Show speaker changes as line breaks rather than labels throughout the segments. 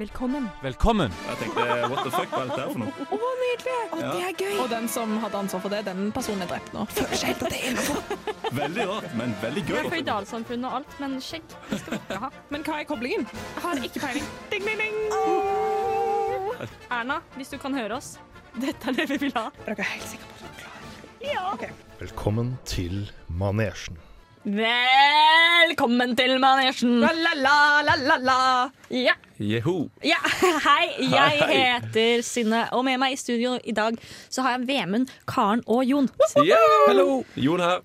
Velkommen.
Velkommen!
Jeg tenkte what the fuck, hva er dette her for noe?
Å, nydelig! Å,
Ja.
Det er gøy.
Og den som hadde ansvar for det, den personen er drept nå.
Føler seg helt at det er innenfor.
Veldig rart, men veldig gøy.
Jeg er føydalsamfunn og alt, men skjegg det skal vi ikke ha.
Men hva er koblingen?
Jeg har ikke peiling. Ding, ding, ding. Erna, hvis du kan høre oss, dette er det vi vil ha.
Er dere helt sikre på at dere klarer det?
Velkommen til manesjen.
Velkommen til manesjen. Ja.
Jeho.
ja. Hei, jeg
Hei.
heter Synne, og med meg i studio i dag så har jeg Vemund, Karen og Jon.
Yeah, hello. Jon her.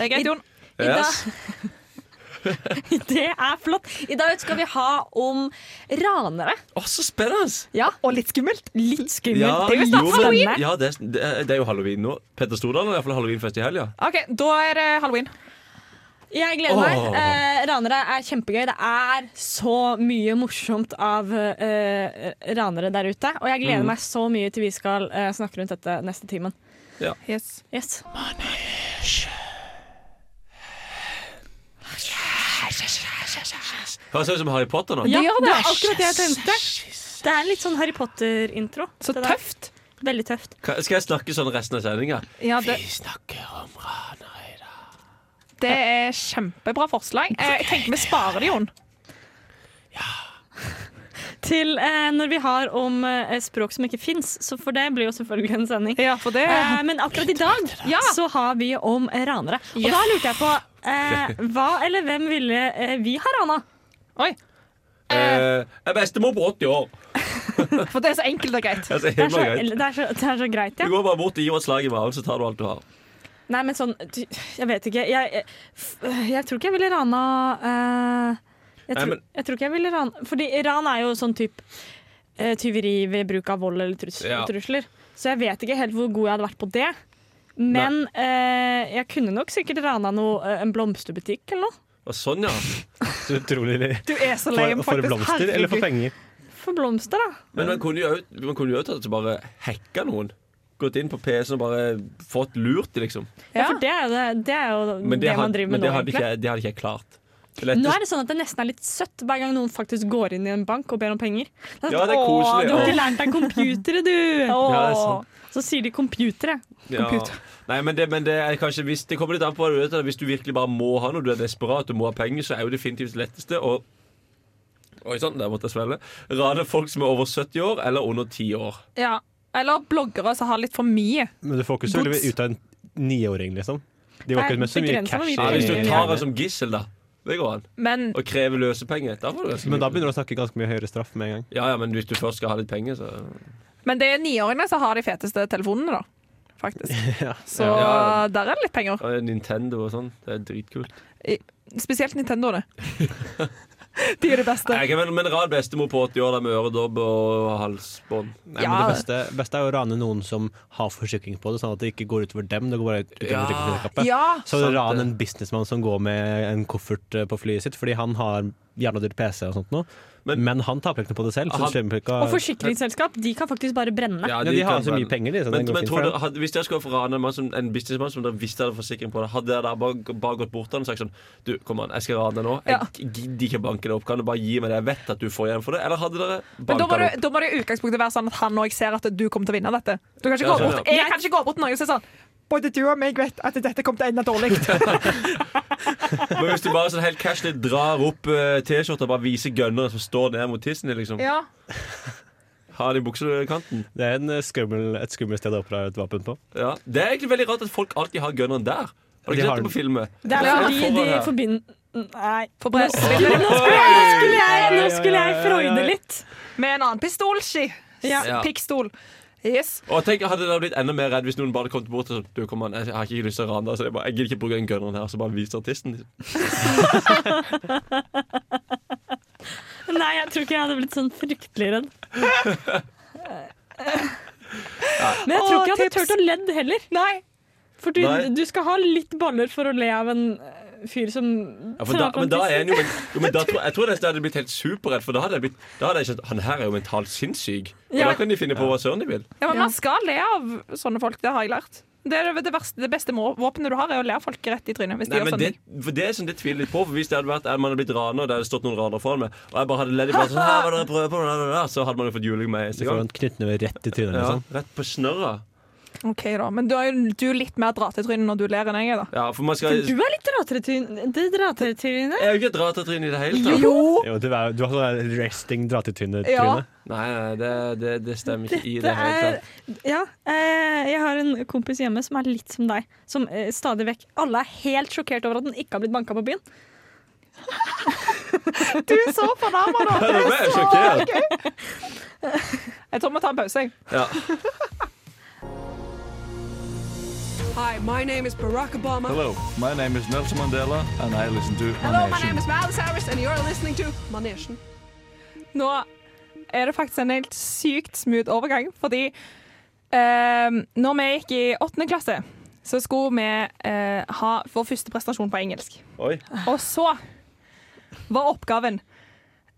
Jeg heter Jon.
I
Yes.
dag- Det er flott. I dag skal vi ha om ranere.
Å, så spennende!
Ja,
Og litt skummelt.
litt skummelt.
Ja,
det er jo snart
jo, men-
halloween.
Ja, det, er- det, er- det er jo halloween nå. Petter Stordalen har i hvert fall halloweenfest i helga.
OK, da er det halloween.
Jeg gleder meg.
Åh.
Eh, ranere er kjempegøy. Det er så mye morsomt av eh, ranere der ute. Og jeg
Mm.
gleder meg så mye til vi skal eh, snakke rundt dette neste timen.
Yes.
Yes.
Høres ut som Harry Potter nå.
Ja,
gjør
det
det.
er akkurat det jeg tenkte. Det er en litt sånn Harry Potter-intro.
Så
Det der.
tøft.
Veldig tøft.
Ka- Skal jeg snakke sånn resten av sendinga?
Ja, det,
snakker om ranere i dag.
det er kjempebra forslag. Eh, Jeg tenker vi sparer det, Jon.
Til eh, når vi har om eh, språk som ikke fins, så for det blir jo selvfølgelig en sending.
Ja, for det
Eh, men akkurat i dag
Ja.
så har vi om eh, ranere. Og
Ja.
da lurte jeg på eh, hva eller hvem ville eh, vi ha rana?
Oi.
Eh, jeg er bestemor på 80 år.
Eh, For det er så enkelt og greit.
Altså,
Det er,
himla
så,
greit.
det, er så, det er så greit, ja.
Du går bare bort og gir et slag i magen, så tar du alt du har.
Nei, men sånn ty- Jeg vet ikke. Jeg, jeg, f- jeg tror ikke jeg ville rana eh, jeg,
Nei,
tror,
men-
jeg tror ikke jeg ville rana Fordi ran er jo sånn type tyveri ved bruk av vold eller trus
Ja.
trusler. Så jeg vet ikke helt hvor god jeg hadde vært på det. Men eh, jeg kunne nok sikkert rana noe, eh, en blomsterbutikk eller noe.
Og sånn, ja.
Så utrolig lame.
Du er så
For,
lame,
for
faktisk.
blomster eller for penger?
For blomster, da.
Men man kunne jo også- man kunne jo tatt og bare hacka noen. Gått inn på PC-en og bare fått lurt de, liksom.
Ja, for det er jo det, det, er jo det,
Men det,
man
had,
driver med
men det
nå,
hadde,
egentlig.
ikke, jeg- det hadde ikke jeg klart. Det
Nå
letteste-
er det sånn at det nesten er litt søtt hver gang noen faktisk går inn i en bank og ber om penger. sånn,
Ja, det er
«Åh,
koselig,
Du har
ja.»
ikke lært deg computere, du!
Ja, det er
Åh,
sant.
så sier de computere.
ja. Nei, men det, men det er kanskje hvis, Det kommer litt an på hva du vet. da. Hvis du virkelig bare må ha noe, du er desperat og må ha penger, så er jo definitivt det letteste å Oi sann, der måtte jeg svelle. Rane folk som er over 70 år eller under 10 år.
Ja. Eller bloggere som har litt for mye.
Men du får ikke så veldig ut av en niåring, liksom. De var
Nei,
ikke med så mye
begrenset hvor
cash.
mye
Ja,
i-
hvis du tar en som gissel, da. Det går an.
Men
Og krever løsepenger. Da får du ganske
Men da
mye.
begynner du å snakke ganske mye høyere straff med en gang.
Ja, ja, men hvis du først skal ha litt penger, så
Men det er niåringene som har de feteste telefonene, da. Faktisk. Så
Ja.
der er det litt penger.
Ja, Nintendo og sånn. Det er dritkult.
Spesielt Nintendo, det. De er de beste.
Nei, jeg kan vel- men rar bestemor på 80 år da med øredobb og halsbånd.
Nei, men
Ja.
det beste, beste er å rane noen som har forsikring på det, sånn at det ikke går utover dem. Det går bare ut- utover
Ja.
forsikringsselskapet.
Ja.
Så
Sant
ran
det.
en businessmann som går med en koffert eh, på flyet sitt, fordi han har jævla dyr PC og sånt noe,
Men-
men, han taper ikke noe på det selv. Så
Han-
det skjer ikke,
Og forsikringsselskap, de kan faktisk bare brenne.
Ja,
ja, de har
kan
så
brenne.
mye penger, de, så
Men,
det går
men
fint
tror
for
dere,
dem.
hadde, hvis dere skulle få rane en, mann som, en businessmann som dere visste hadde forsikring på det, hadde dere da bare, bare gått bort til han og sagt sånn Du, kom an, jeg skal rane deg nå. Jeg
Ja.
gidder ikke banke deg opp. Kan du bare gi meg det? Jeg vet at du får igjen for det. Eller hadde dere
Men da må,
banka
du,
det opp?
da må det i utgangspunktet være sånn at han òg ser at du kommer til å vinne dette. Du kan ikke
Ja,
gå
sånn,
bort, jeg kan ikke gå bort til noen og si sånn Både du og meg vet at dette kommer til å ende dårlig.
Men hvis du bare sånn helt casually drar opp eh, T-skjorta og bare viser gønneren som står ned mot tissen din, liksom.
Ja.
Har de buksekanten?
Det er en eh, skummel, et skummelt sted å oppdra et vapen på.
Ja. Det er egentlig veldig rart at folk alltid har gønneren der. Har du
De
ikke
har
sett det
den.
på filmet?
Det er
Ja,
fordi
foran
de
her.
forbinder Nei.
På
Nå
brystet.
skulle, nå, skulle jeg, nå, skulle jeg, nå skulle jeg freude litt.
Med en annen pistol, ski.
Ja.
Pikkstol. Yes.
Og tenk, Hadde dere blitt enda mer redd hvis noen bare hadde kommet bort og sånn Du, kom an, jeg har ikke lyst til å rane deg, så jeg, bare, jeg gidder ikke bruke den gunneren her. Så bare viser artisten.
Nei, jeg tror ikke jeg hadde blitt sånn fryktelig redd. Men jeg tror
Åh,
ikke jeg hadde
tips.
turt å ledd heller.
Nei.
For du,
Nei.
du skal ha litt baller for å le av en eh, fyr som
Ja, for da, men da er han jo, men, jo, men da, tror- Jeg tror nesten jeg hadde blitt helt superredd, for da hadde jeg blitt Da hadde jeg skjønt Han her er jo mentalt sinnssyk. Og
Ja.
da kan de finne på hva søren de vil.
Ja, men
Ja.
man skal le av sånne folk. Det har jeg lært. Det, er det, verste, det beste må- våpenet du har, er å lære folk rett i trynet. Hvis de
Nei,
gjør
sånn
men
sånne
det,
ting.
for det er sånn det tviler litt på. For Hvis det hadde vært at man hadde blitt ranet, og det hadde stått noen ranere foran meg, og jeg bare hadde ledd i plass, sånn, «Her, hva dere prøver på, blablabla», så hadde man jo fått juling med
Så
eneste
får
gang.
han knyttneve rett i trynet.
Ja,
Liksom.
rett på snørra.
Ok da, Men du er jo du er litt mer dra til trynet når du ler enn jeg er, da.
Ja, for man skal
Du er litt drateretryne.
Jeg er jo ikke et ratatryne i det hele tatt.
Jo!
Jo, du, er, du har sånn resting dratetryne-tryne.
Ja.
Nei, nei, det, det, det stemmer ikke i
Dette
det hele
er
tatt.
Ja. Eh, jeg har en kompis hjemme som er litt som deg. Som eh, stadig vekk Alle er helt sjokkert over at den ikke har blitt banka på byen.
Du er så fornærma nå!
Ja, nå ble jeg sjokkert.
Jeg tror vi tar en pause, jeg.
Ja.
Hi, my name is Barack Obama.
Hello, my name is Nelson Mandela, and I listen to
Hello,
My
my name
Nation.
is Miles Harris, and you're listening to Manesjen.
Nå er det faktisk en helt sykt smooth overgang, fordi eh, når vi gikk i åttende klasse, så skulle vi eh, ha vår første prestasjon på engelsk.
Oi.
Og så var oppgaven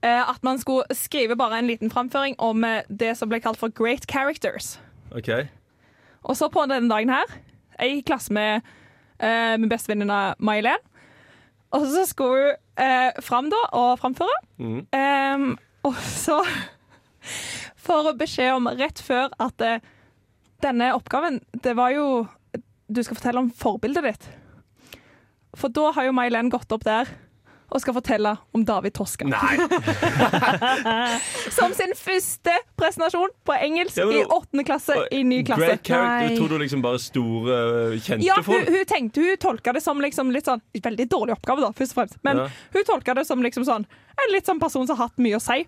eh, at man skulle skrive bare en liten framføring om eh, det som ble kalt for great characters.
OK.
Og så på denne dagen her, jeg gikk i klasse med, eh, med bestevenninna May-Len, og så skulle hun eh, fram da og framføre.
Mm.
Ehm, og så får hun beskjed om rett før at eh, denne oppgaven, det var jo Du skal fortelle om forbildet ditt. For da har jo May-Len gått opp der og skal fortelle om David Toska.
Nei.
Som sin første presentasjon på engelsk
Ja, men
i
hun-
åttende klasse i ny klasse.
Great character.
Nei.
Tror du liksom bare store, eh, kjente
Ja, hun,
folk?
hun tenkte, hun tolka det som liksom litt sånn Veldig dårlig oppgave, da, først og fremst. Men
Ja.
hun tolka det som liksom sånn en litt sånn person som har hatt mye å si.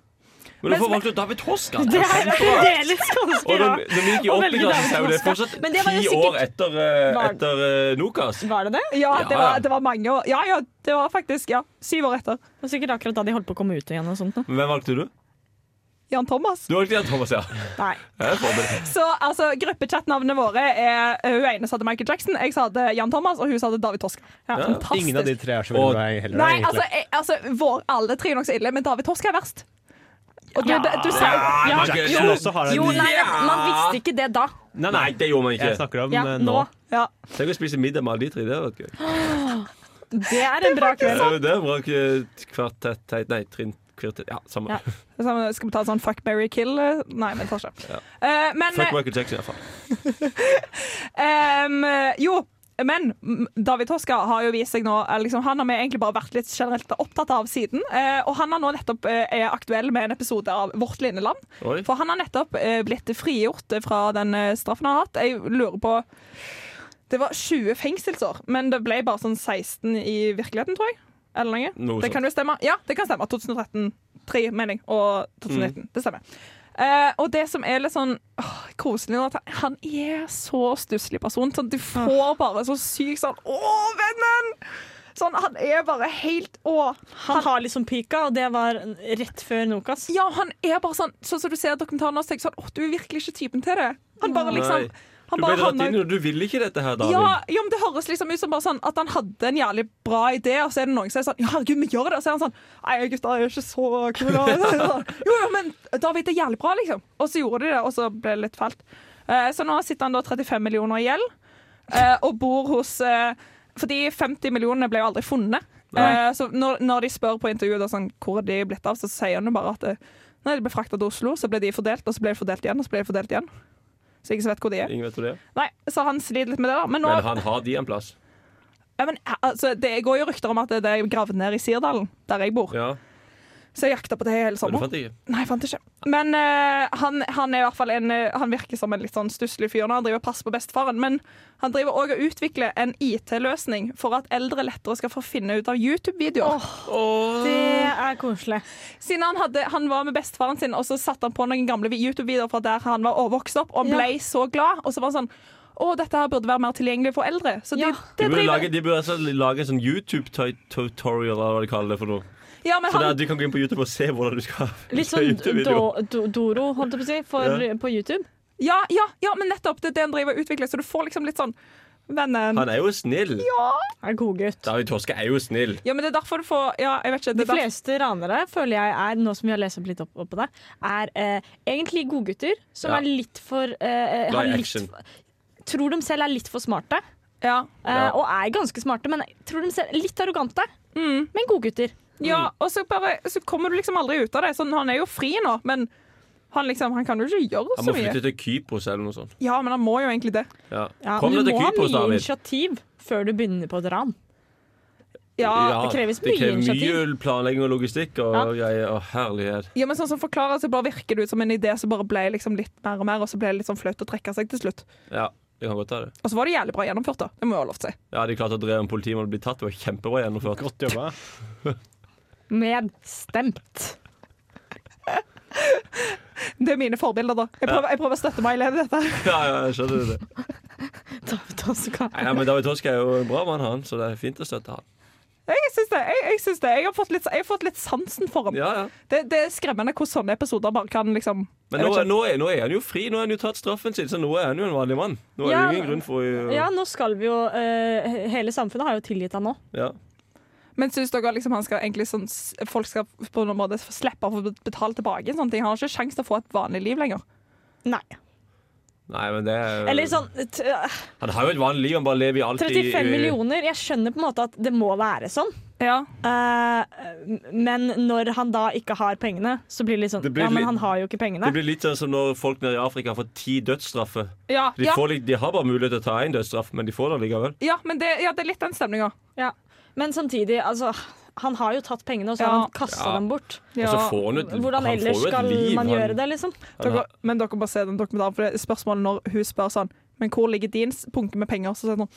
Men hvorfor valgte du David Hoska?
Det er fremdeles
Og
ganske
da
bra.
de gikk i
Og
åttende
veldig
klasse, så er jo det
David Hoska.
fortsatt
Men det var jo
ti
sikkert-
år etter, eh,
Var-
etter eh, Nokas.
Var det det?
Ja,
Ja,
det var,
ja.
det var mange år. Ja, ja, det var faktisk ja, syv år etter.
Det var sikkert akkurat da de holdt på å komme ut igjen. og sånt nå.
Men hvem valgte du?
Jan Thomas.
Du valgte Jan Thomas, ja.
Nei.
Jeg er forberedt.
Så altså, gruppechattnavnene våre er Hun ene sa det Michael Jackson, jeg sa det Jan Thomas, og hun sa det David Toska.
Ja,
Ja.
fantastisk.
Ingen av de tre er så
Og-
veldig glad i heller.
Nei,
egentlig.
altså, jeg, altså vår, alle tre er nokså ille, men David Toska er verst. Og du, du, du sa
Ja,
Michael
jo,
Jackson
også har en-
jo, nei, man visste ikke det da.
Nei, nei, det gjorde man
Jeg
ikke.
snakker om
Ja,
eh,
nå.
nå.
ja.
Tenk å spise middag med alle de tre. Det hadde vært gøy.
Det er en bra
Det
kveld.
er jo det bra k- kvartett teit- Nei, trinn kvartett Ja, samme.
Ja.
Så Skal vi ta en sånn fuck, marry, kill? Nei, vi tar ikke.
Ja.
Eh, men
Fuck Michael Jackson, iallfall.
Ehm, jo, men mm, David Toska har jo vist seg nå eh, liksom, Han har vi egentlig bare vært litt generelt opptatt av siden. eh, og han har nå nettopp eh, er aktuell med en episode av Vårt Lindeland.
Oi.
For han har nettopp eh, blitt frigjort fra den eh, straffen han har hatt. Jeg lurer på Det var 20 fengselsår, men det ble bare sånn 16 i virkeligheten, tror jeg. Eller noe.
Noe
Det
sånt.
kan jo stemme. Ja, det kan stemme. 2013 3, mener jeg. Og
Mm.
2019. Det stemmer. Eh, og det som er litt sånn åh, koselig, nå, at han er så stusslig person. Sånn, du får bare så sykt sånn Å, vennen! Sånn, han er bare helt Å!
Han har liksom pika, og det var rett før Nokas.
Ja, han er bare sånn Sånn som du ser i dokumentaren også, tenker jeg sånn, åh, du er virkelig ikke typen til det. Han bare liksom
Nei.
han
Du ble
bare
dratt
havna-
inn, og du ville ikke dette her, David.
ja, ja, men det høres liksom ut som bare sånn at han hadde en jævlig bra idé, og så er det noen som er sånn Ja, herregud, vi gjør det! Og så er han sånn Nei, gutta, jeg er ikke så kul. da». jo, jo, men David, det er jævlig bra, liksom. Og så gjorde de det, og så ble det litt fælt. Eh, så nå sitter han da 35 millioner i gjeld, eh, og bor hos eh, Fordi 50 millionene ble jo aldri funnet. Eh, så når, når de spør på intervjuet da, sånn, hvor de er blitt av, så sier han jo bare at eh, Nei, de ble frakta til Oslo, så ble de fordelt, og så ble de fordelt igjen, og så ble de fordelt igjen. Så ingen som vet hvor de er.
Ingen vet hvor det er.
Nei, Så han sliter litt med det, da. Men nå
Men han har de en plass.
ja, men, altså, det går jo rykter om at det er gravd ned i Sirdalen, der jeg bor.
Ja,
Så jeg jakta på det hele
Men du
sommeren.
fant ikke?
Nei, jeg fant det ikke. Men eh, han, han er i hvert fall en eh, Han virker som en litt sånn stusslig fyr når han driver og passer på bestefaren. Men han driver òg og utvikler en IT-løsning for at eldre lettere skal få finne ut av YouTube-videoer.
Det er koselig.
Siden han, hadde, han var med bestefaren sin, og så satte han på noen gamle vi- YouTube-videoer fra der han var og vokste opp, og han
Ja.
ble så glad. Og så var han sånn Å, dette her burde være mer tilgjengelig for eldre. Så de,
Ja.
De
det
burde
driver
lage, de burde altså lage en sånn YouTube-tutorial, eller hva de kaller det for noe.
ja, men
Så
han,
der, du kan gå inn på YouTube og se hvordan du skal
Litt sånn
skal
do,
YouTube-video.
do, Doro, holdt jeg på å si, for, på YouTube.
Ja, ja, ja, men nettopp det er det han driver og utvikler, så du får liksom litt sånn Vennen.
Han er jo snill.
Er god gutt.
David Toske er jo snill.
Ja, men det er derfor du får Ja, jeg vet ikke.
De
Det er derfor,
fleste ranere føler jeg er, nå som vi har lest opp litt opp, opp på det, er eh, egentlig godgutter som
Ja.
er litt for eh,
Glad i
har litt
action.
for- tror de selv er litt for smarte.
Ja.
eh, Og er ganske smarte, men jeg tror de selv er litt arrogante.
Mm.
Men godgutter.
ja
Mm.
og så, bare, så kommer du liksom aldri ut av det. Sånn, han er jo fri nå, men han, liksom, han kan jo ikke gjøre
Han
så
må
mye.
flytte til Kypros eller noe sånt.
Ja, men han må jo egentlig det.
Ja.
Ja,
Kom
men
deg
du
til
må ha
Kypros,
mye
David.
initiativ før du begynner på et ran.
Ja,
Ja,
det kreves
det
mye
krever
initiativ.
mye planlegging og logistikk og greier. Å, herlighet.
ja men sånn som forklarer, så bare virker det ut som en idé som bare ble liksom litt mer og mer, og så ble det litt sånn flaut å trekke seg til slutt.
Ja, jeg kan godt ta det.
Og så var det jævlig bra gjennomført, da. Det må jeg ha lov til å si.
Ja, De klarte å dreie om politimannen ble tatt. Det var kjempebra gjennomført.
Godt jobba.
Med stemt.
Det er mine forbilder, da. Jeg prøver, jeg prøver å støtte meg i dette.
Ja, ja, jeg skjønner det.
David Oskar.
Nei, men David Tosk er jo en bra mann, han, så det er fint å støtte han.
Jeg syns det. Jeg, jeg, syns det. Jeg, har fått litt, jeg har fått litt sansen for ham.
Ja, ja.
Det, det er skremmende hvordan sånne episoder bare kan liksom
Men
Jeg
nå,
vet ikke.
nå, er, nå er han jo fri. Nå har han jo tatt straffen sin, så nå er han jo en vanlig mann. Nå er
Ja,
det ingen grunn for å
Ja, nå skal vi jo eh, Hele samfunnet har jo tilgitt han nå.
Ja.
Men syns dere liksom han skal egentlig sånn s- folk skal på noen måte slippe å få betale tilbake? en sånn ting? Han har ikke sjanse til å få et vanlig liv lenger.
Nei.
Nei, men det er
Eller sånn t
Han har jo et vanlig liv, han bare lever i alt i-
35 millioner. Jeg skjønner på en måte at det må være sånn.
Ja.
Eh, men når han da ikke har pengene, så blir det litt sånn
Det blir
Ja, men
litt-
han har jo ikke
Det
pengene.
blir litt sånn som når folk nede i Afrika får ti dødsstraffer.
Ja,
De, får litt, de har bare mulighet til å ta én dødsstraff, men de får det likevel.
ja, men det, ja, det er litt den stemninga.
Ja. Men samtidig, altså Han har jo tatt pengene, og så har
Ja.
han kasta
Ja.
dem bort.
Og så får han jo et-
Hvordan
han får
ellers
jo et
skal
liv,
man
han-
gjøre det, liksom?
Han
Dere,
har-
men dere må se den dokumentaren, for det er spørsmålet når hun spør sånn Men hvor ligger din s- bunke med penger? Så sier hun sånn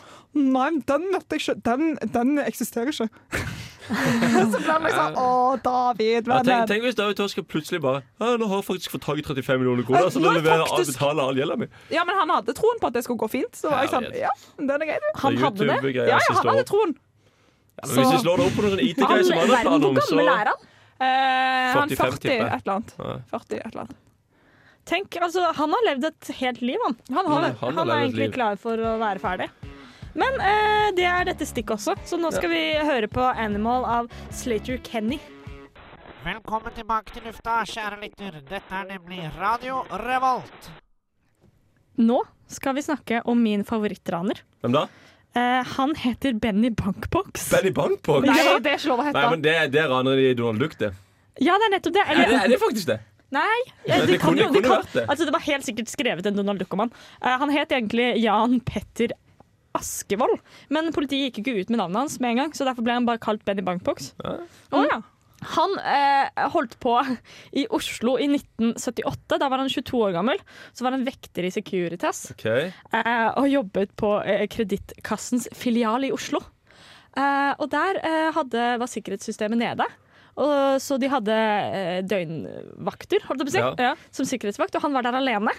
Nei, den vet jeg ikke. Den, den eksisterer ikke. så blir han liksom Å, David,
Ja, tenk,
vennen.
tenk hvis David Toske plutselig bare ja, 'Nå har jeg faktisk fått tak i 35 millioner kroner, så da
Nå er
leverer jeg
faktisk-
betaler all gjelda mi'.
Ja, men han hadde troen på at det skulle gå fint. Så var jeg sånn
Herlighet.
Ja, den er grei, du.
Han hadde det.
YouTube-greier
Ja, ja,
siste
han
år.
hadde troen.
Ja, men hvis
så-
de slår det opp på noen sånn IT-greie
Han,
som han har
verden,
planer
hvor
om, så
gammel er han?
Eh, han
45
40
tipper jeg.
et eller annet.
Ja.
40 et eller annet.
Tenk, altså, han har levd et helt liv, han.
Han har det.
Han,
Han har
er
levd et
egentlig
liv.
klar for å være ferdig. Men eh, det er dette stikket også, så nå skal vi høre på 'Animal' av Slater Kenny.
Velkommen tilbake til lufta, kjære lytter. Dette er nemlig Radio Revolt.
Nå skal vi snakke om min favorittraner.
Hvem da?
Eh, han heter Benny Bankbox.
Benny Bankbox?
Nei,
Nei,
det er ikke lov å hete.
men det, det raner de Donald Duck, det.
Ja, det er nettopp det.
Er
Eller,
det, er det faktisk det?
Nei,
Men
de
det
kan
kunne-
jo, de
kunne
kan,
vært det.
altså, det var helt sikkert skrevet en Donald Duck om han. Eh, han het egentlig Jan Petter Askevold, men politiet gikk ikke ut med navnet hans med en gang, så derfor ble han bare kalt Benny Bankbox.
Å, ja.
Han eh, holdt på i Oslo i 1978, da var han 22 år gammel. Så var han vekter i Securitas
Ok,
eh, og jobbet på eh, Kredittkassens filial i Oslo. Eh, og der eh, hadde, var sikkerhetssystemet nede. Og, så de hadde eh, døgnvakter, holdt jeg på å si,
Ja.
ja, som sikkerhetsvakt, og han var der alene.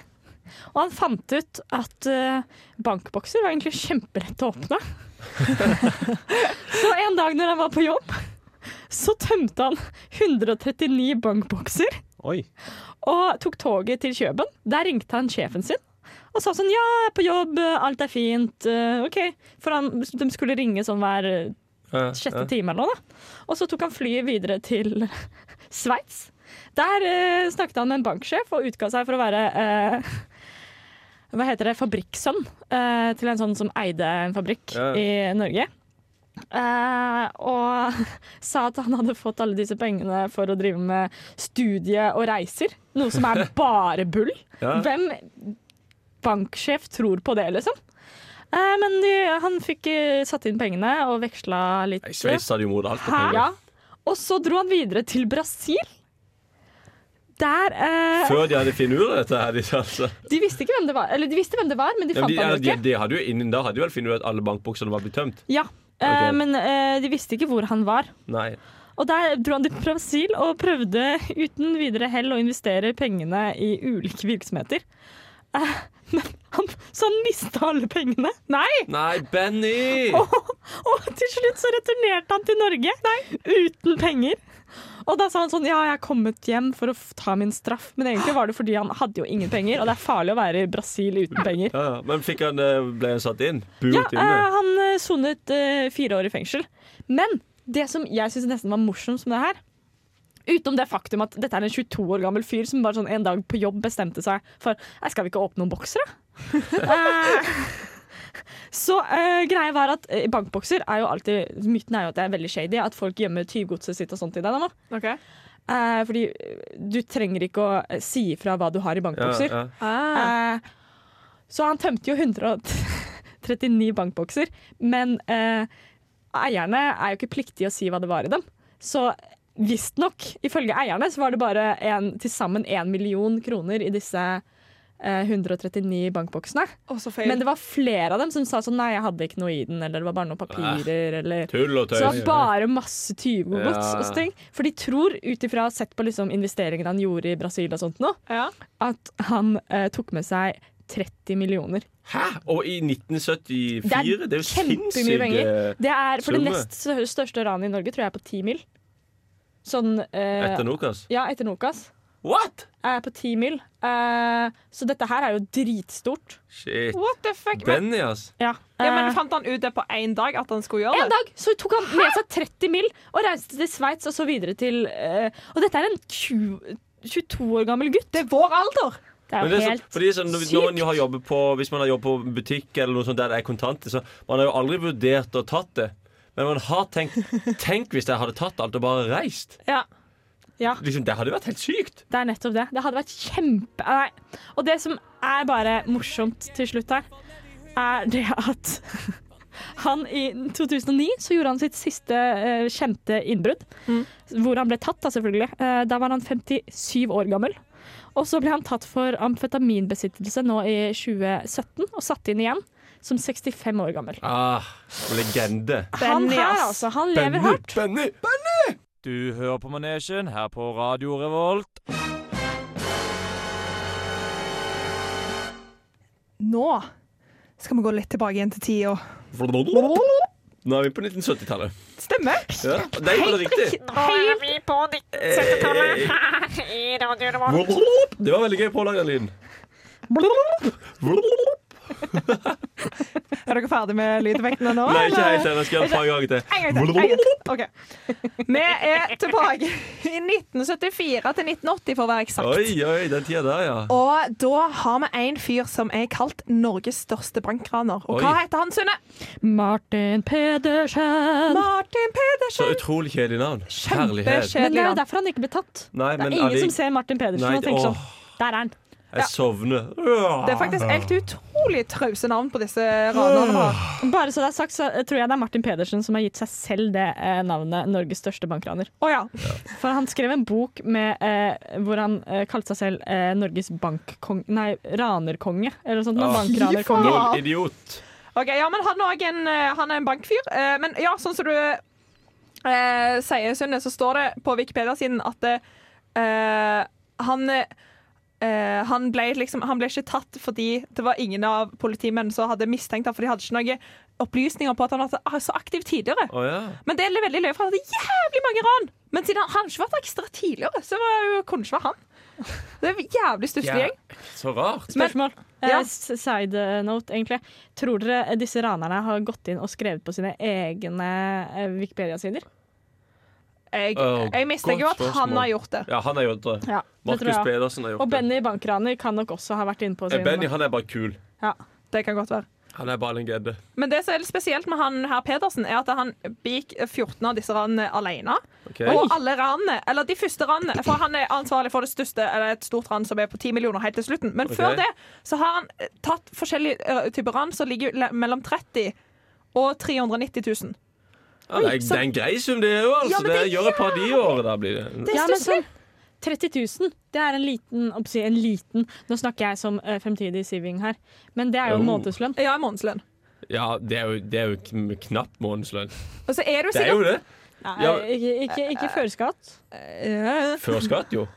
Og han fant ut at eh, bankbokser var egentlig kjempelett å åpne. så en dag når han var på jobb, så tømte han 139 bankbokser
Oi.
og tok toget til Kjøben. Der ringte han sjefen sin og sa sånn Ja, jeg er på jobb, alt er fint. eh, OK. For han, de skulle ringe sånn hver eh,
ja,
sjette
ja.
time eller noe. da. Og så tok han flyet videre til Sveits. Der eh, snakket han med en banksjef og utga seg for å være eh, hva heter det, fabrikksønn eh, til en sånn som eide en fabrikk
Ja.
i Norge. Eh, og sa at han hadde fått alle disse pengene for å drive med studie og reiser. Noe som er bare bull.
Ja.
Hvem banksjef tror på det, liksom? Eh, men de, han fikk eh, satt inn pengene og veksla litt.
Nei, Sveits hadde jo mot alt på
Hæ?
penger.
Ja. Og så dro han videre til Brasil. Der eh,
Før de hadde funnet ut av dette. her, de, altså.
De visste ikke hvem det var, eller de visste hvem det var, men de
ja,
fant
men de,
han
ja,
jo
de,
ikke.
de hadde jo innen da hadde de vel funnet ut at alle bankboksene var blitt tømt.
Ja, eh,
Ok.
Men eh, de visste ikke hvor han var.
Nei.
Og der dro han til Brasil og prøvde uten videre hell å investere pengene i ulike virksomheter. Eh, men han, så han mista alle pengene. Nei!
Nei, Benny!
Og, og til slutt så returnerte han til Norge uten penger. Og da sa han sånn Ja, jeg er kommet hjem for å f- ta min straff. Men egentlig var det fordi han hadde jo ingen penger, og det er farlig å være i Brasil uten penger.
Ja, ja. Men fikk han, eh, ble han satt inn? Burt
Ja, eh,
inne?
han eh, sonet eh, fire år i fengsel. Men det som jeg syns nesten var morsomt med det her, Utenom det faktum at dette er en 22 år gammel fyr som bare sånn en dag på jobb bestemte seg for «Nei, skal vi ikke åpne noen bokser, da? Eh, Så eh, greia var at eh, bankbokser er jo alltid Myten er jo at det er veldig shady at folk gjemmer tyvgodset sitt og sånt i deg. da, nå.
OK.
Eh, fordi eh, du trenger ikke å eh, si ifra hva du har i
Ja,
bankbokser.
ja.
Ah.
Eh, så han tømte jo 139 bankbokser, men eh, eierne er jo ikke pliktige å si hva det var i dem. Så visstnok, ifølge eierne, så var det bare en, til sammen 1 million kroner i disse eh, 139 bankboksene.
Og så feil.
Men det var flere av dem som sa sånn nei, jeg hadde ikke noe i den, eller det var bare noen papirer, eller
Tull og
så det var
tøys.
bare masse tyvegods
Ja.
og ting. For de tror, ut ifra sett på liksom investeringene han gjorde i Brasil og sånt nå,
Ja.
at han eh, tok med seg 30 millioner.
Hæ? Og i 1974?
Det er
Det er jo
kjempemye
sinnssyke
penger. Det er for det
Summe.
nest stør- største ranet i Norge, tror jeg, er på 10 mil. Sånn eh,
etter Nokas.
Ja, etter Nokas.
What?!
Er på 10 mil. Eh, så dette her er jo dritstort.
Shit.
What the fuck? Men,
Benny, ass.
Ja.
ja,
Eh,
men fant han ut det på én dag at han skulle gjøre
En
det?
dag så tok han med seg 30 mil og reiste til Sveits og så videre til eh, Og dette er en 20, 22 år gammel gutt.
Det er vår alder!
Det er
Men
jo
det er så,
helt
fordi sånn, når, når man jo har jobbet på, hvis man har jobbet på butikk eller noe sånt der det er kontanter, så man har jo aldri vurdert å tatt det. Men man har tenkt Tenk hvis jeg hadde tatt alt og bare reist.
Ja. Ja.
Liksom, det hadde jo vært helt sykt.
Det er nettopp det. Det hadde vært kjempe... Nei. Og det som er bare morsomt til slutt her, er det at han i 2009 så gjorde han sitt siste eh, kjente innbrudd.
Mm.
Hvor han ble tatt, da selvfølgelig. Eh, da var han 57 år gammel. Og så ble han tatt for amfetaminbesittelse nå i 2017 og satt inn igjen som 65 år gammel.
Ah, legende.
Han
Benny,
her,
ass.
altså. Han lever hardt.
Benny.
Du hører på Manesjen her på Radio Revolt.
Nå skal vi gå litt tilbake igjen til tida.
Nå er vi på 1970-tallet.
Stemmer.
Ja, det er jo bare riktig.
Nå er vi på 1970-tallet her i Radio Revolt.
Det var veldig gøy på å lage den lyden.
Er dere ferdig med lydeffektene nå?
Nei, ikke
eller?
helt ennå. Skal jeg ta en gang til.
En gang til. En gang til. Ok. Vi er tilbake i 1974 til 1980, for å være eksakt.
Oi, oi, den tida der, ja.
Og da har vi en fyr som er kalt Norges største bankraner. Og
Oi.
hva heter han, Sunne?
Martin Pedersen.
Martin
Så
Pedersen.
utrolig kjedelig navn.
Men
Herlighet.
det
Kjempekjedelig
er jo
navn.
derfor han ikke ble tatt.
Nei,
Det er
men
ingen
alli-
som ser Martin Pedersen
Nei,
og tenker
åh.
sånn Der er han.
Jeg sovner.
Det er
Ah.
faktisk helt utrolig trause navn på disse ranerne. vi
Ah.
har.
Bare så det er sagt, så tror jeg det er Martin Pedersen som har gitt seg selv det eh, navnet Norges største bankraner.
Å ja.
For han skrev en bok med, eh, hvor han eh, kalte seg selv eh, Norges bankkong... Nei, ranerkonge, eller noe sånt.
Ah.
Oh. Bankranerkonge.
Fy faen.
Noen idiot.
Ok, ja, men han, er også en, eh, han er en bankfyr. Eh, Men ja, sånn som du eh, sier, Sunne, så står det på Wikipedia-siden at eh, han eh, han ble, liksom, han ble ikke tatt fordi det var ingen av politimennene som hadde mistenkt ham, for de hadde ikke noen opplysninger på at han var så aktiv tidligere.
Å ja.
Men det er veldig løye, for han hadde jævlig mange ran! Men siden han, han hadde ikke vært ekstra tidligere, så var det jo, kunne det ikke være han. Det er en jævlig stusslig gjeng.
Så rart.
Spørsmål. Eh,
Ja.
s- side note, egentlig. Tror dere disse ranerne har gått inn og skrevet på sine egne eh, Wikipedia-sider?
Jeg,
Åh,
jeg mistenker jo
Oh, godt
at han
spørsmål.
har gjort det.
Ja, han har gjort det.
Ja, det tror
Markus
jeg.
eh, Pedersen har gjort
Og Benny bankraner kan nok også ha vært inne på
det. Eh,
sine
Benny han er bare kul.
Ja.
Det kan godt være.
Han er bare en gjedde.
Men det som er litt spesielt med han her Pedersen, er at han begikk 14 av disse ranene alene.
Ok?
Og alle ranene, eller de første ranene, for han er ansvarlig for det største, eller et stort ran som er på 10 millioner helt til slutten. Men
Ok.
før det så har han eh, tatt forskjellige eh, typer ran som ligger le- mellom 30 og 390 000.
Ja, det, er,
så-
det er en grei sum, det er jo. Altså.
Ja, men
det,
det er
gjør et par de i året. Da blir det.
Det er
Ja, men
stusslig.
sånn 30 000, det er en liten, å si, en liten Nå snakker jeg som eh, fremtidig siving her, men det er jo en
Oh.
månedslønn.
Ja, en månedslønn.
Ja, det er jo, det er jo kn- knapt månedslønn.
Og så er du
Det er jo
sikkert
det. Ja.
Eh, Ikke, ikke, ikke før skatt.
Ja.
Før skatt, jo.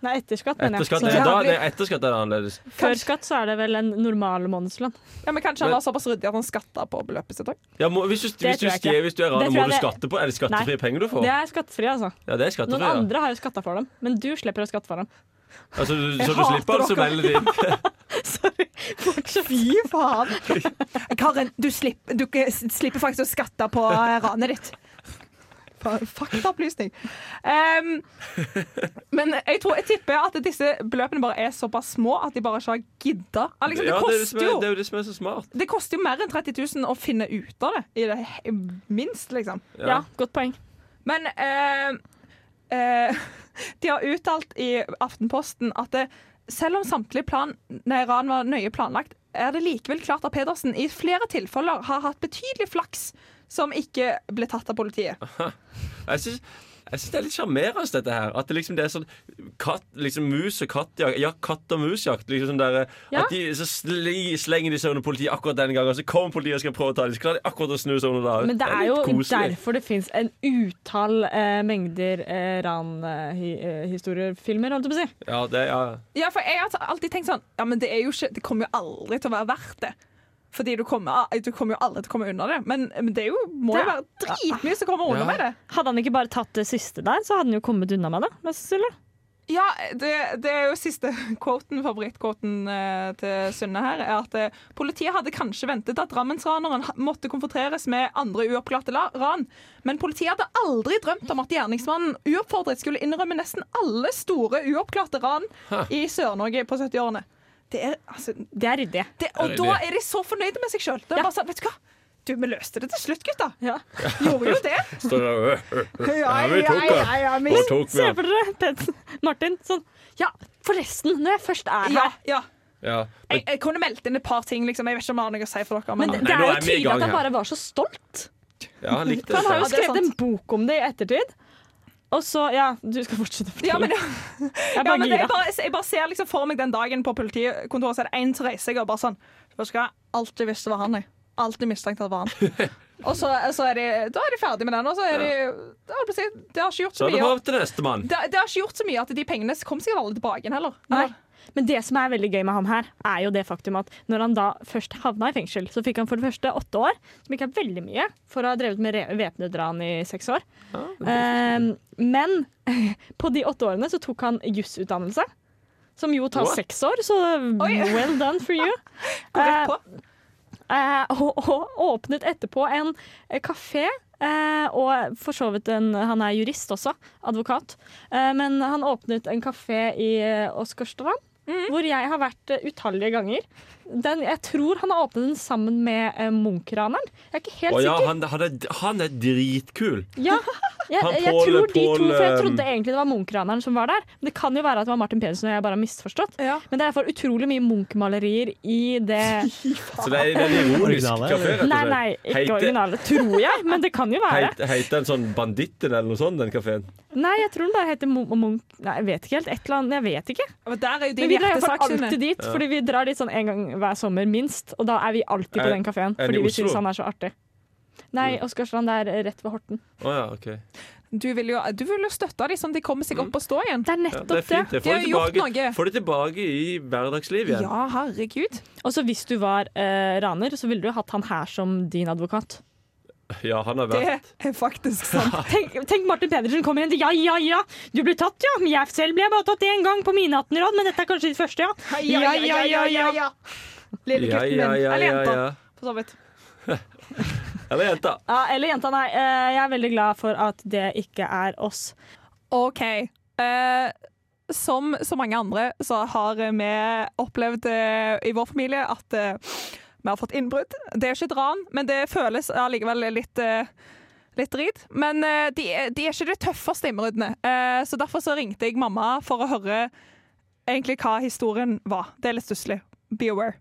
Nei, etter skatt, mener
Etter
jeg.
skatt
Så,
er, da,
Jævlig.
nei, etter skatt er det annerledes.
før skatt så er det vel en normal månedslønn.
ja, men Kanskje han
Men-
var såpass ryddig at han skatta på beløpet sitt òg.
Ja, må, hvis, du, hvis,
tror
du
jeg
skrev,
ikke.
hvis du er
Det
raner,
tror
må
jeg
du
det-
skatte på? Er det skattefrie penger du får?
Det er skattefri, altså.
Ja, det er skattefri.
Noen
Ja.
andre har jo skatta for dem, men du slipper å skatte for dem.
Altså, du, så du
hater
slipper altså
dere.
veldig litt.
Fy faen! Karen, du, slipper- du k- slipper faktisk å skatte på eh, ranet ditt. fa- faktaopplysning. Ehm, men jeg tror, jeg tipper at disse beløpene bare er såpass små at de bare ikke har gidda. Ah, Liksom, det,
Ja, det, er det, som
koster
er,
jo,
det er jo det som er så smart.
det koster jo mer enn 30 000 å finne ut av det, i det he- minst, liksom.
Ja, godt poeng.
Men eh, eh, de har uttalt i Aftenposten at det, selv om samtlige plan, nei, ran var nøye planlagt, er det likevel klart at Pedersen i flere tilfeller har hatt betydelig flaks som ikke ble tatt av politiet.
Jeg synes, jeg synes det er litt sjarmerende, dette her. At det liksom det er sånn katt, liksom mus og kattjakt Ja, katt og musjakt. Liksom sånn der,
Ja.
At de så sli, slenger de seg under politiet akkurat den gangen, og så kommer politiet og skal prøve å ta dem. Så klarer de akkurat å snu seg under der.
Men det er jo
litt koselig.
derfor det fins en utall eh, mengder eh, ranhistoriefilmer, holdt jeg på å si.
Ja, det, ja.
Ja, for jeg har alltid tenkt sånn Ja, men det er jo ikke Det kommer jo aldri til å være verdt det. Fordi du kommer, du kommer jo aldri til å komme unna det. Men, men det er jo, må jo være dritmye som kommer unna
Ja.
med det.
Hadde han ikke bare tatt det siste der, så hadde han jo kommet unna med det. Mest sannsynlig.
Ja, det, det er jo siste quoten, favorittquoten eh, til Synne her, er at eh, politiet hadde kanskje ventet at Drammensraneren ha- måtte konfronteres med andre uoppklarte la- ran, men politiet hadde aldri drømt om at gjerningsmannen uoppfordret skulle innrømme nesten alle store uoppklarte ran i Sør-Norge på 70-årene. Det er, altså,
Det er ryddig.
det, og da er de så fornøyde med seg sjøl.
Ja.
bare Sånn, vet du hva? Du, vi løste det til slutt, gutta.
Ja.
Gjorde jo det.
Står der, øh, øh, øh. Ja, vi tok
ja,
det.
ja,
Nå
men-
tok vi
Se
den.
for dere Pet- Martin sånn Ja, forresten, når jeg først er her
ja, ja.
Ja.
Jeg, jeg kunne meldt inn et par ting. Liksom. Jeg vet ikke om jeg har noe å si for dere.
Men
Men
det,
Nei,
det er
nå
jo
er vi i
tydelig at
gang
han
her.
bare var så stolt.
ja, han likte
Han har
det.
jo
Ja, det er
skrevet en bok om det i ettertid. Og så Ja, du skal fortsette å fortelle.
ja, men,
jeg er
ja,
bare
men jeg,
gira.
bare, jeg bare ser liksom for meg den dagen på politikontoret, så er det én som reiser seg og bare sånn Vet du hva, alt jeg visste var han, jeg. Alltid mistenkt at det var han. Og så, så er de, da er de ferdig med den, og så er de da holdt jeg på å si, Det har ikke gjort
Så
så
er det
mye.
håp til neste mann.
Det, det har ikke gjort så mye at de pengene kom sikkert aldri tilbake igjen heller.
Nei. Men det som er veldig gøy med ham her, er jo det faktum at når han da først havna i fengsel, så fikk han for det første åtte år, som ikke er veldig mye, for å ha drevet med re- væpnet ran i seks år. Ehm, men på de åtte årene så tok han jusutdannelse, som jo tar
What?
seks år, så
Oi.
well done for you.
Går rett på.
Eh, og, og åpnet etterpå en eh, kafé. eh, og for så vidt en Han er jurist også. Advokat. Eh, men han åpnet en kafé i eh, Åsgårdstrand, hvor jeg har vært eh, utallige ganger. Den, jeg tror han har åpnet den sammen med eh, Munch-raneren. Jeg er ikke helt
Å ja,
sikker.
han, han, er, han er dritkul.
Ja, jeg,
Han
jeg,
Pål-
tror de to,
Pål,
for jeg
eh,
trodde egentlig det var Munch-raneren som var der. Men det kan jo være at det var Martin Pedersen og jeg bare har misforstått.
Ja.
Men det er for utrolig mye Munch-malerier i det
Så det er, det er en ironisk
Originale,
kafé, rett og slett.
Nei, nei, ikke
Heite-
originale, tror jeg, men det kan jo være.
Heit- Heter den sånn Banditten eller noe sånt, den kafeen?
Nei, jeg tror den bare heter Mo- Munch Nei, jeg vet ikke helt. Et eller annet. Jeg vet ikke.
Men der er jo
Men
din
vi drar iallfall
hjertesak, Synne.
alltid dit, fordi vi drar dit sånn en gang hver sommer minst. Og da er vi alltid på
Er-
den kafeen,
den i
fordi vi
Oslo? Mm.
syns han er så artig. Nei, Åsgårdstrand det er rett ved Horten.
Å ja, OK.
Du vil jo, du vil jo støtte dem sånn at de kommer seg opp og stå igjen.
Det er
Ja, det er
nettopp det.
fint. Det
De
får
har
du
gjort
tilbake,
noe.
får du tilbake i hverdagslivet igjen.
Ja, herregud.
Og så hvis du var eh, raner, så ville du jo hatt han her som din advokat.
Ja, han har
Det
vært
er faktisk sant.
Ah.
Tenk, tenk Martin Pedersen kommer igjen til Ja, ja, ja, du ble tatt, ja. Men jeg selv ble bare tatt én gang på mine 18 råd, men dette er kanskje ditt første, ja. Ja, ja, ja, ja,
Lille
Ja,
gutten min.
ja, ja,
Eller
ja,
jenta,
ja.
for så vidt.
Eller jenta.
ja eller jenta, nei. eh, jeg er veldig glad for at det ikke er oss.
OK. Eh, som så mange andre, så har vi opplevd eh, i vår familie at eh, vi har fått innbrudd. Det er jo ikke et ran, men det føles allikevel litt eh, Litt drit, men eh, de, er- de er ikke de tøffeste innbruddene. Eh, så derfor så ringte jeg mamma for å høre egentlig hva historien var. Det er litt stusslig. Be aware.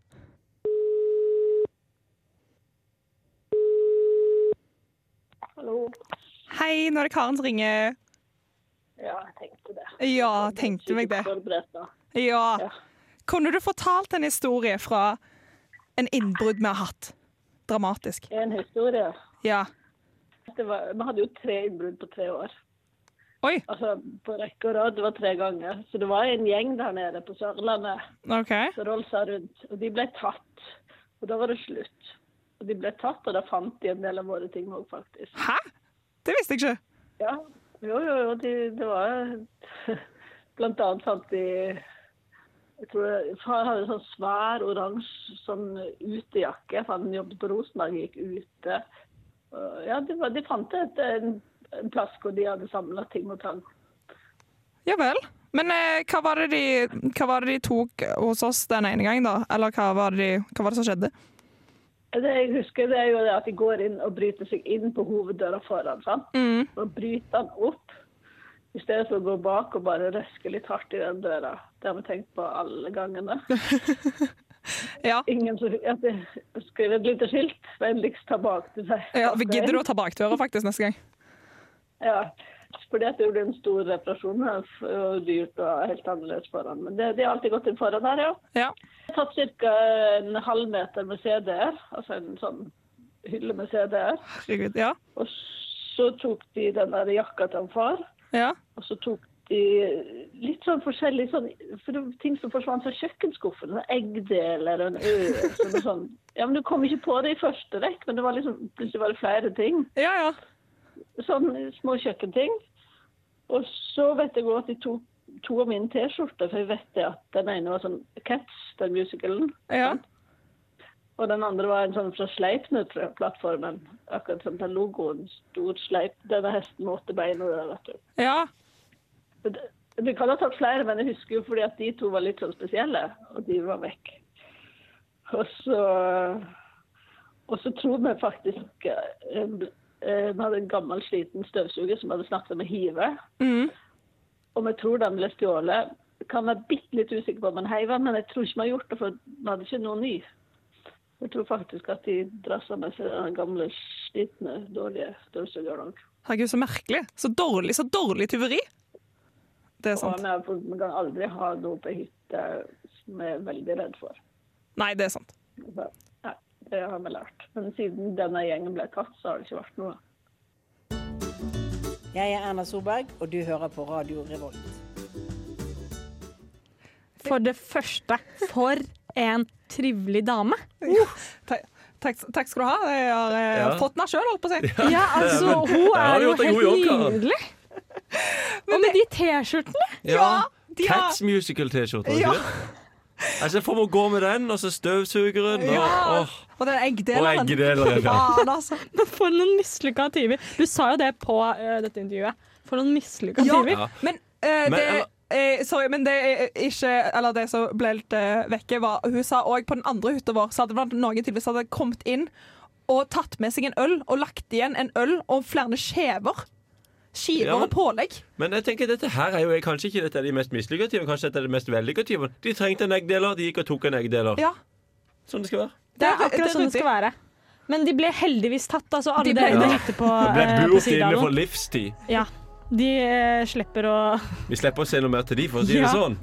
Hei, nå er det Karen som ringer.
Ja, jeg tenkte det.
Ja, tenkte meg det.
Forberedt, da.
Ja. Kunne du fortalt en historie fra en innbrudd vi har hatt? Dramatisk.
En historie.
Ja.
Det var, vi hadde jo tre innbrudd på tre år.
Oi,
Altså på rekke og rad. Det var tre ganger. Så det var en gjeng der nede på Sørlandet
OK.
som rolsa rundt. Og de ble tatt. Og da var det slutt. Og de ble tatt, og da fant de en del av våre ting òg, faktisk.
Hæ? Det visste jeg ikke.
Ja. Jo, jo, jo. De, det var Blant annet fant de jeg tror jeg, Far hadde en sånn svær oransje sånn utejakke, for han jobbet på Rosenberg og gikk ute. Og Ja, de, var- de fant et, en en plask, og de hadde samla ting og tang.
Ja vel. Men eh, hva, var det de, hva var det de tok hos oss den ene gangen, da? Eller hva var det, de, hva var det som skjedde?
Det jeg husker, det er jo det at de går inn og bryter seg inn på hoveddøra foran. sant? Og bryter den opp, i stedet for å gå bak og bare røske litt hardt i den døra. Det har vi tenkt på alle gangene.
Ja,
Ingen som at de skriver et lite skilt 'Vennligst ta bak til seg'.
ja vi Gidder du å ta bakdøra faktisk neste gang?
Ja. Fordi at det blir en stor reparasjon her, og dyrt og helt annerledes foran. Men det, de har alltid gått inn foran her, ja.
Ja.
Jeg har tatt ca. en halvmeter med CD-er, altså en sånn hylle med CD-er.
Herregud. Ja.
Og så tok de den der jakka til han far,
ja.
og så tok de litt sånn forskjellig sånn, for det var ting som forsvant fra kjøkkenskuffen. En eggdel eller en øl. Sånn, sånn. Ja, men du kom ikke på det i første rekk, men det var liksom, plutselig var det flere ting.
Ja, ja.
Sånn små kjøkkenting. Og så vet jeg også at de tok to av mine T-skjorter, for jeg vet det at den ene var sånn Cats, den musicalen.
ja.
Og den andre var en sånn fra Sleipner-plattformen. Akkurat som den logoen. Stor sleip. Denne hesten med åtte bein og det der, vet du.
ja.
Men Det, det kan ha tatt flere, men jeg husker jo fordi at de to var litt sånn spesielle, og de var vekk. Og så, og så tror vi faktisk eh, eh, Vi hadde en gammel, sliten støvsuger som hadde snakket om å hive. Og vi tror den ble stjålet. Kan være bitte litt usikker på om den heiv den, men jeg tror ikke vi har gjort det, for vi hadde ikke noe ny. Jeg tror faktisk at de drassa med seg den gamle, slitne, dårlige støvsugeren.
Herregud, så merkelig. Så dårlig, så dårlig tyveri. Det er
Og
sant.
vi har fått- vi kan aldri ha noe på hytta som jeg er veldig redd for.
Nei, det er sant.
Så, Nei, det har vi lært. Men siden denne gjengen ble tatt, så har det ikke vært noe.
Jeg er Erna Solberg, og du hører på Radio Revolt.
For det første, for en trivelig dame.
Ta- Takk, takk skal du ha. Jeg har eh,
Ja.
fått den sjøl, holdt på å si.
Ja, altså, hun
har
er
du
jo
gjort en god
helt
jobb, Karen.
nydelig. Og med de T-skjortene.
Ja, de har-
Cats musical-T-skjorte.
Ja.
Ja. Altså, jeg får meg gå med den, og så støvsugeren. Og,
Ja.
åh,
Og den
og
eggdeleren.
eggedeleren. Ja.
Faen, altså.
For noen mislykka tyver. Du sa jo det på ø, dette intervjuet. For noen mislykka
Ja,
tyver.
men eh,
Men,
det eh, Sorry, men det er ikke Eller det som ble litt eh, vekke, var Hun sa òg på den andre hytta vår Så hadde det vært noen tydeligvis hadde kommet inn og tatt med seg en øl og lagt igjen en øl og flere skjever. Skiver
Ja, men-
og pålegg.
Men jeg tenker dette her er jo kanskje ikke dette er de mest mislykka tyvene. Kanskje dette er de mest vellykka tyvene. De trengte en eggdeler, de gikk og tok en eggdeler.
Ja.
Sånn det skal være.
Det er
Det er
akkurat sånn det
ryddig.
skal være. Men de ble heldigvis tatt, altså. Alle
De
de
ble
ble
det.
gikk det på,
Vi ble
ø, eh, på
burt inne for
Sigdalen.
livstid.
Ja. De ø, slipper å
Vi slipper å se noe mer til de, for å si
Ja.
det sånn.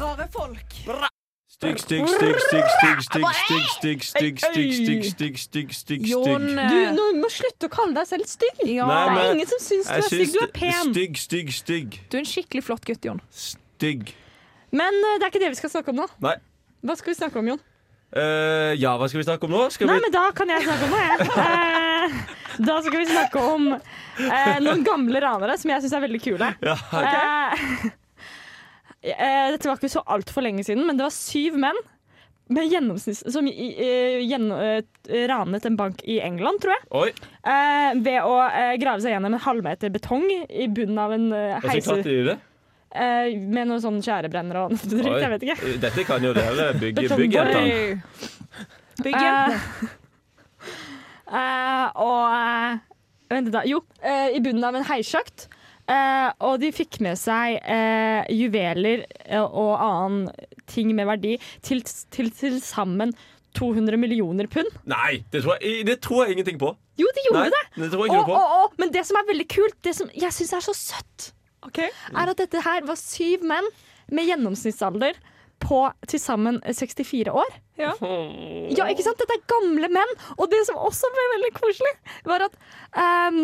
Rare folk.
Stygg, stygg, stygg, stygg, stygg, stygg, stygg, stygg, stygg, stygg, stygg, stygg, stygg, stygg.
Jon
Du nå må slutte å kalle deg selv stygg!
Nei,
det er
men
ingen som syns du
Jeg
er stygg.
syns
Du er pen.
Stygg, stygg, stygg.
Du er en skikkelig flott gutt, Jon.
Stygg.
Men ø, det er ikke det vi skal snakke om nå.
Nei.
Hva skal vi snakke om, Jon?
Eh, ja, hva skal vi snakke om nå? Skal
Nei,
vi
men da kan jeg snakke om noe, jeg. Eh, da skal vi snakke om eh, noen gamle ranere som jeg syns er veldig kule. Eh, eh, dette var ikke så altfor lenge siden, men det var syv menn med gjennomsnitts... Som i- eh, gjennom- eh, ranet en bank i England, tror jeg.
Oi,
Eh, ved å eh, grave seg gjennom en halvmeter betong i bunnen av en eh,
hvordan
heiser.
klarte de det?
Eh, med noen sånne tjærebrenner og noe dritt, jeg vet ikke.
Oi. Dette kan jo dere bygge,
Betongbord.
bygge etter.
Byggen.
Eh, og eh, Vent litt da. Jo, eh, i bunnen av en heissjakt. Eh, og de fikk med seg eh, juveler eh, og annen ting med verdi til til til sammen 200 millioner pund.
Nei, det tror, jeg, det tror jeg ingenting på.
Jo, de gjorde
Nei,
det!
det tror jeg
Og,
ikke noe på.
og, og, men det som er veldig kult, det som jeg syns er så søtt, er at dette her var syv menn med gjennomsnittsalder på til sammen 64 år.
Ja.
Ja, ikke sant? Dette er gamle menn. Og det som også ble veldig koselig, var at ehm,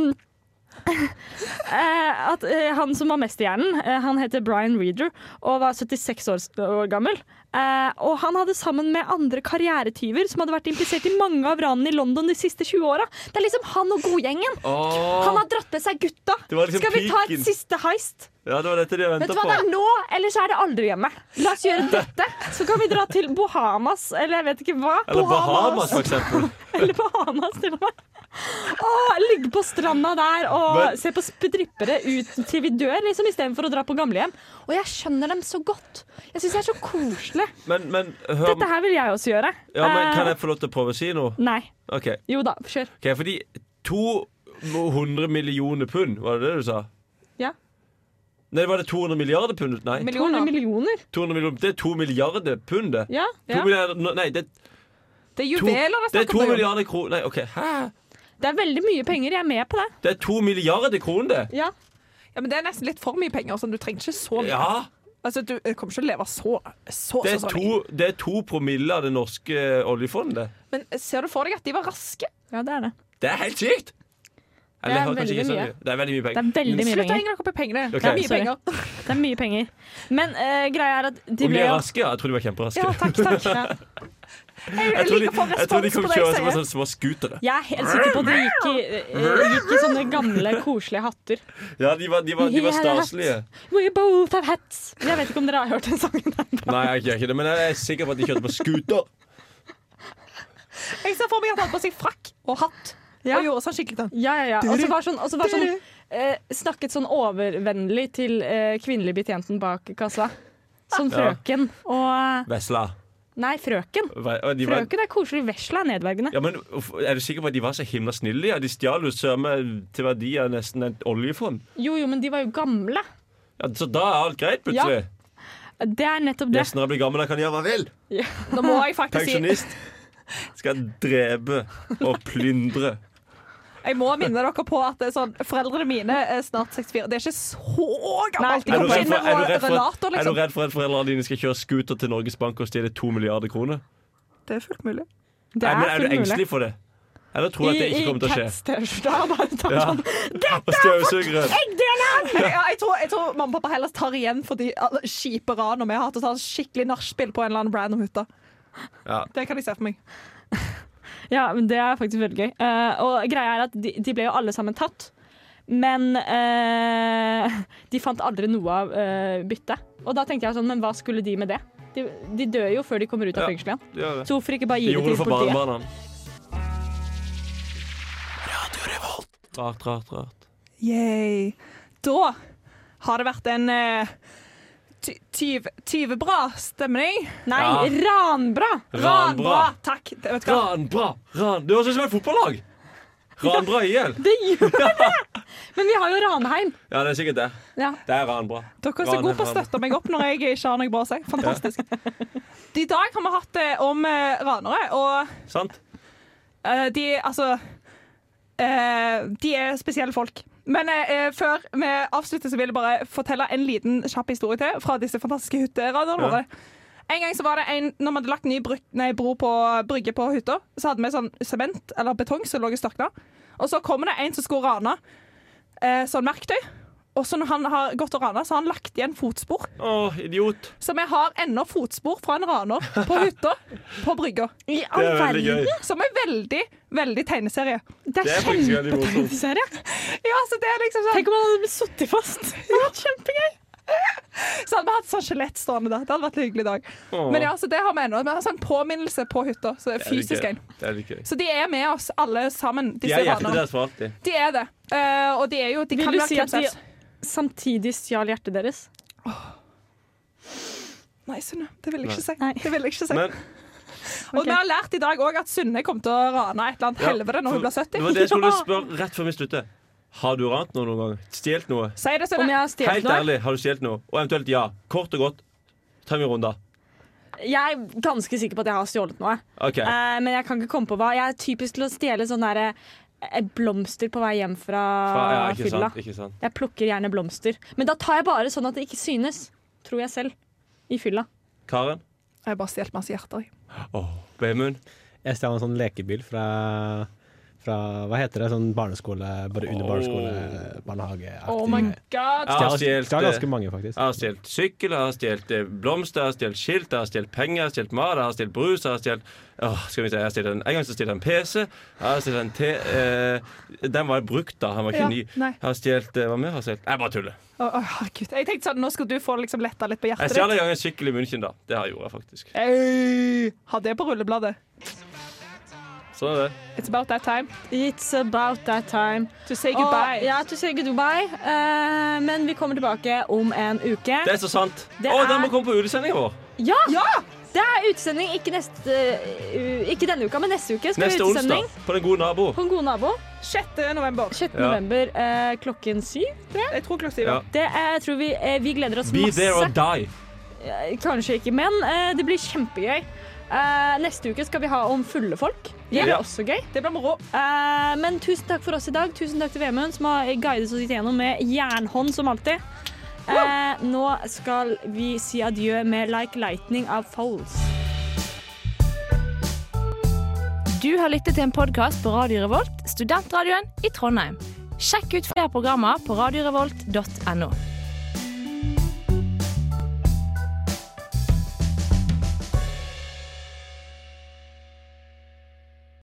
eh, at eh, Han som var mest i hjernen, eh, han heter Brian Reeder og var 76 år, år gammel. Eh, og han hadde sammen med andre karrieretyver som hadde vært implisert i mange av ranene i London de siste 20 åra. Det er liksom han og godgjengen.
Åh.
Han har dratt med seg gutta.
Det var liksom
Skal vi ta
piken.
et siste heist?
Ja, det var dette de
Vet du
venta
hva,
på.
det er nå, eller så er det aldri hjemme. La oss gjøre dette, så kan vi dra til Bahamas, eller jeg vet ikke hva.
Eller Bahamas, for eksempel.
Eller Bahamas, til og med. Åh, ligge på stranda der og
Men-
se på bedrippere ut til vi dør, liksom, istedenfor å dra på gamlehjem. Og jeg skjønner dem så godt. Jeg syns det er så koselig.
Men, men hør
Dette her vil jeg også gjøre.
ja, men, Kan
Eh,
jeg få lov til å prøve å si noe?
Nei.
OK.
Jo da, kjør.
Ok, fordi 200 millioner pund, var det det du sa?
Ja.
Nei, var det 200 milliarder pund? Nei.
200 millioner.
200 millioner, det er 2 milliarder pund, det.
Ja.
To milliarder, nei, det,
Det er
to,
juveler det
det
er
er 2
snakk om.
milliarder kroner Nei, OK. Hæ?
Det er veldig mye penger. Jeg er med på det.
Det er 2 milliarder kroner, det!
Ja.
Ja, men det er nesten litt for mye penger. Sånn. Du trenger ikke så mye.
Ja!
Altså, du eh, kommer ikke til å leve så, så, sånn.
Det er
så,
Altså,
så
sånn
lenge.
to, det er to promille av det norske oljefondet.
Men eh, ser du for deg at de var raske?
Ja, det er det.
Det er helt sykt!
Det er
Eller, jeg har kanskje
veldig
ikke så
mye.
mye. Det er veldig mye
Det
penger.
er veldig mye
Slutt å
penger.
henge dere opp i pengene.
Ok.
Det er mye
Sorry.
penger.
Det er mye penger. Men eh, greia er at de
Om de
ble
er
jo
raske? Ja, jeg tror de var kjemperaske.
Ja, takk, takk.
Jeg,
Jeg tror de,
liker for
jeg tror de
respons
kom
på det jeg
kjørende som
sier.
sånne små scootere.
Jeg er helt sikker på at de gikk i, eh, gikk i sånne gamle, koselige hatter.
Ja, de var, de var, de
Hele
var
hatt.
staselige.
We both have hats. Jeg vet ikke om dere har hørt den sangen. der.
Nei, jeg gjør ikke det, men jeg er sikker på at de kjørte på scooter.
Jeg ser for meg at han hadde på seg frakk og hatt
Ja.
og gjorde sånn skikkelig sånn.
Ja, ja, ja. Og så var sånn, og så var sånn eh, Snakket sånn overvennlig til eh, kvinnelig betjenten bak kassa. Sånn
Ja.
frøken og eh,
Vesla.
Nei, frøken.
Ve- og de var-
Frøken er koselig. Vesla er nedverdigende.
Ja, men uff, Er du sikker på at de var så himla snille? Ja, de stjal jo sømme til verdi av nesten et oljefond.
Jo, jo, men de var jo gamle.
Ja, så da er alt greit, plutselig.
Det er nettopp det.
Nesten når jeg blir gammel, jeg kan gjøre hva jeg vil.
Nå må jeg faktisk si
Pensjonist. Skal jeg drepe og plyndre.
Jeg må minne dere på at det er sånn, foreldrene mine er snart 64. Det er ikke så
Nei,
gammelt. De
Er du
kommer
redd
inn
for, er du
med
redd for,
relator,
er du
liksom.
redd for at foreldrene dine skal kjøre scooter til Norges Bank og stjele to milliarder kroner?
Det er fullt mulig.
Det
Nei,
er,
men Er du
fullt mulig.
engstelig for det? Eller tror du at det ikke kommer til å skje?
skje.
Ja. Og støvsugeren.
Ja, jeg, tror, jeg tror mamma og pappa heller tar igjen for de alle kjipe ranene vi har hatt. Og tar en skikkelig nachspiel på en eller annen random hytte.
Ja.
Det kan jeg se for meg.
Ja, men det er faktisk veldig gøy. Eh, og greia er at de, de ble jo alle sammen tatt. Men eh, de fant aldri noe av eh, byttet. Og da tenkte jeg sånn, men hva skulle de med det? De, de dør jo før de kommer ut av
Ja.
fengselet igjen.
Gjør det.
Så hvorfor ikke bare
De
gi det
gjorde det
til
for
politiet?
barnebarna. Rart, rart, rart.
Yay. Da har det vært en eh, ty- tyv, tyvebra stemning.
Nei,
Ja.
ranbra!
Ranbra.
Takk. Det, vet du hva?
Ranbra! Ran. Det høres ut som et fotballag! Ranbra IL.
Det gjør det! Men vi har jo Ranheim.
Ja, det er sikkert det.
Ja.
Det er Ranbra.
Dere er så gode på å støtte meg opp når jeg ikke har noe bra å si. Fantastisk. I dag har vi hatt det om eh, ranere, og
Sant?
eh, de Altså eh, De er spesielle folk. Men eh, eh, før vi avslutter, så vil jeg bare fortelle en liten kjapp historie til fra disse fantastiske hytteradioene våre. En gang så var det en, når vi hadde lagt ny bru, nei, bro på, brygge på hytta, så hadde vi sånn sement eller betong som lå i størkna. Og så kommer det en som skulle rane eh, sånn verktøy. Og så når han har gått og rana, så har han lagt igjen fotspor.
Å, idiot.
Så vi har ennå fotspor fra en raner på hytta på brygga.
I
Det
all
er veldig
verden.
gøy.
Som er veldig, veldig tegneserie.
Det
Det
er
er faktisk veldig morsomt.
kjempeserie.
Ja, så det er liksom sånn
Tenk om han hadde blitt sittet fast. Ja, kjempegøy.
Så hadde vi hatt sånn skjelett stående der. Det hadde vært en hyggelig dag. Men ja, så det har vi ennå. Vi har sånn påminnelse på hytta. Så det er
Det er litt gøy.
fysisk en.
Det er litt gøy.
Så de er med oss alle sammen,
De
disse
er hjertet
ranerne.
deres for alltid.
Ah,
De er det. Eh, og de er jo De
Vil
kan
du
være
si at de
hvem som helst.
samtidig stjal hjertet deres?
Nei, Sunne. Det vil jeg ikke si.
Nei.
Det vil jeg ikke si.
Men
Og vi har lært i dag òg at Sunne kommer til å rane et eller annet
ja,
helvete når
for-
hun blir 70.
Det var det jeg skulle
Ah.
spørre rett før vi slutter. Har du rant noe noen gang? Stjålet noe?
Si det,
Om jeg
Sunne.
har stjålet
Helt
noe?
ærlig, har du stjålet noe? Og eventuelt ja. Kort og godt. Ta en runde.
Jeg er ganske sikker på at jeg har stjålet noe.
OK.
Eh, men jeg kan ikke komme på hva. Jeg er typisk til å stjele sånne der, eh, blomster på vei hjem fra,
Fra- ja, ikke
fylla.
sant. Ikke sant.
Jeg plukker gjerne blomster. Men da tar jeg bare sånn at det ikke synes, tror jeg selv, i fylla.
Karen?
Jeg har bare stjålet masse hjerter. jeg.
Åh, Vemund?
Jeg stjal en sånn lekebil fra, Fra hva heter det, sånn barneskole, bare under barneskole, barnehageaktig.
Oh my god!
Ja.
Jeg har
Stjelt,
stjålet
eh,
ganske mange,
Jeg
faktisk.
har stjålet sykkel, jeg har stjålet eh, blomster, jeg har stjålet skilt, jeg har stjålet penger, jeg har stjålet mat, jeg har stjålet brus, jeg har stjålet Åh, skal vi se, jeg har stjålet en, en gang så stjal jeg en PC, jeg har stjålet en T eh, Den var brukt, da, han var ikke
Ja,
ny.
nei.
Jeg har stjålet eh, Hva mer har jeg stjålet? Jeg bare tuller.
Å, å, herregud. Jeg tenkte sånn, nå skal du få liksom letta litt på
Jeg
hjertet
stjal
ditt.
en gang en sykkel i München, da. Det har jeg gjort, jeg, faktisk.
Øy, ha det på rullebladet.
Sånn er det.
It's about that time
It's about that time.
to say goodbye.
Og, ja, to say goodbye. Eh, men vi kommer tilbake om en uke.
Det er så sant.
Det
Å,
er-
den må komme på utesendinga vår!
Ja! Det er utsending ikke, neste, u- ikke denne uka, men neste uke. skal
Neste
vi utsending
onsdag. På Den gode nabo.
På en god nabo.
6. november.
6.
Ja.
november eh, klokken syv.
Jeg tror klokka syv.
Ja.
Det er, jeg tror vi, eh, vi gleder oss
Be
masse.
there or die.
Eh, Kanskje ikke, men eh, det blir kjempegøy. Eh, neste uke skal vi ha om fulle folk. Det blir
Ja.
også gøy.
Det blir moro.
Eh, men tusen takk for oss i dag. Tusen takk til Vemund, som har guidet oss gjennom med jernhånd som alltid. Eh, nå skal vi si adjø med Like Lightning av Folds.
Du har lyttet til en podkast på Radio Revolt, studentradioen i Trondheim. Sjekk ut flere programmer på radiorevolt.no.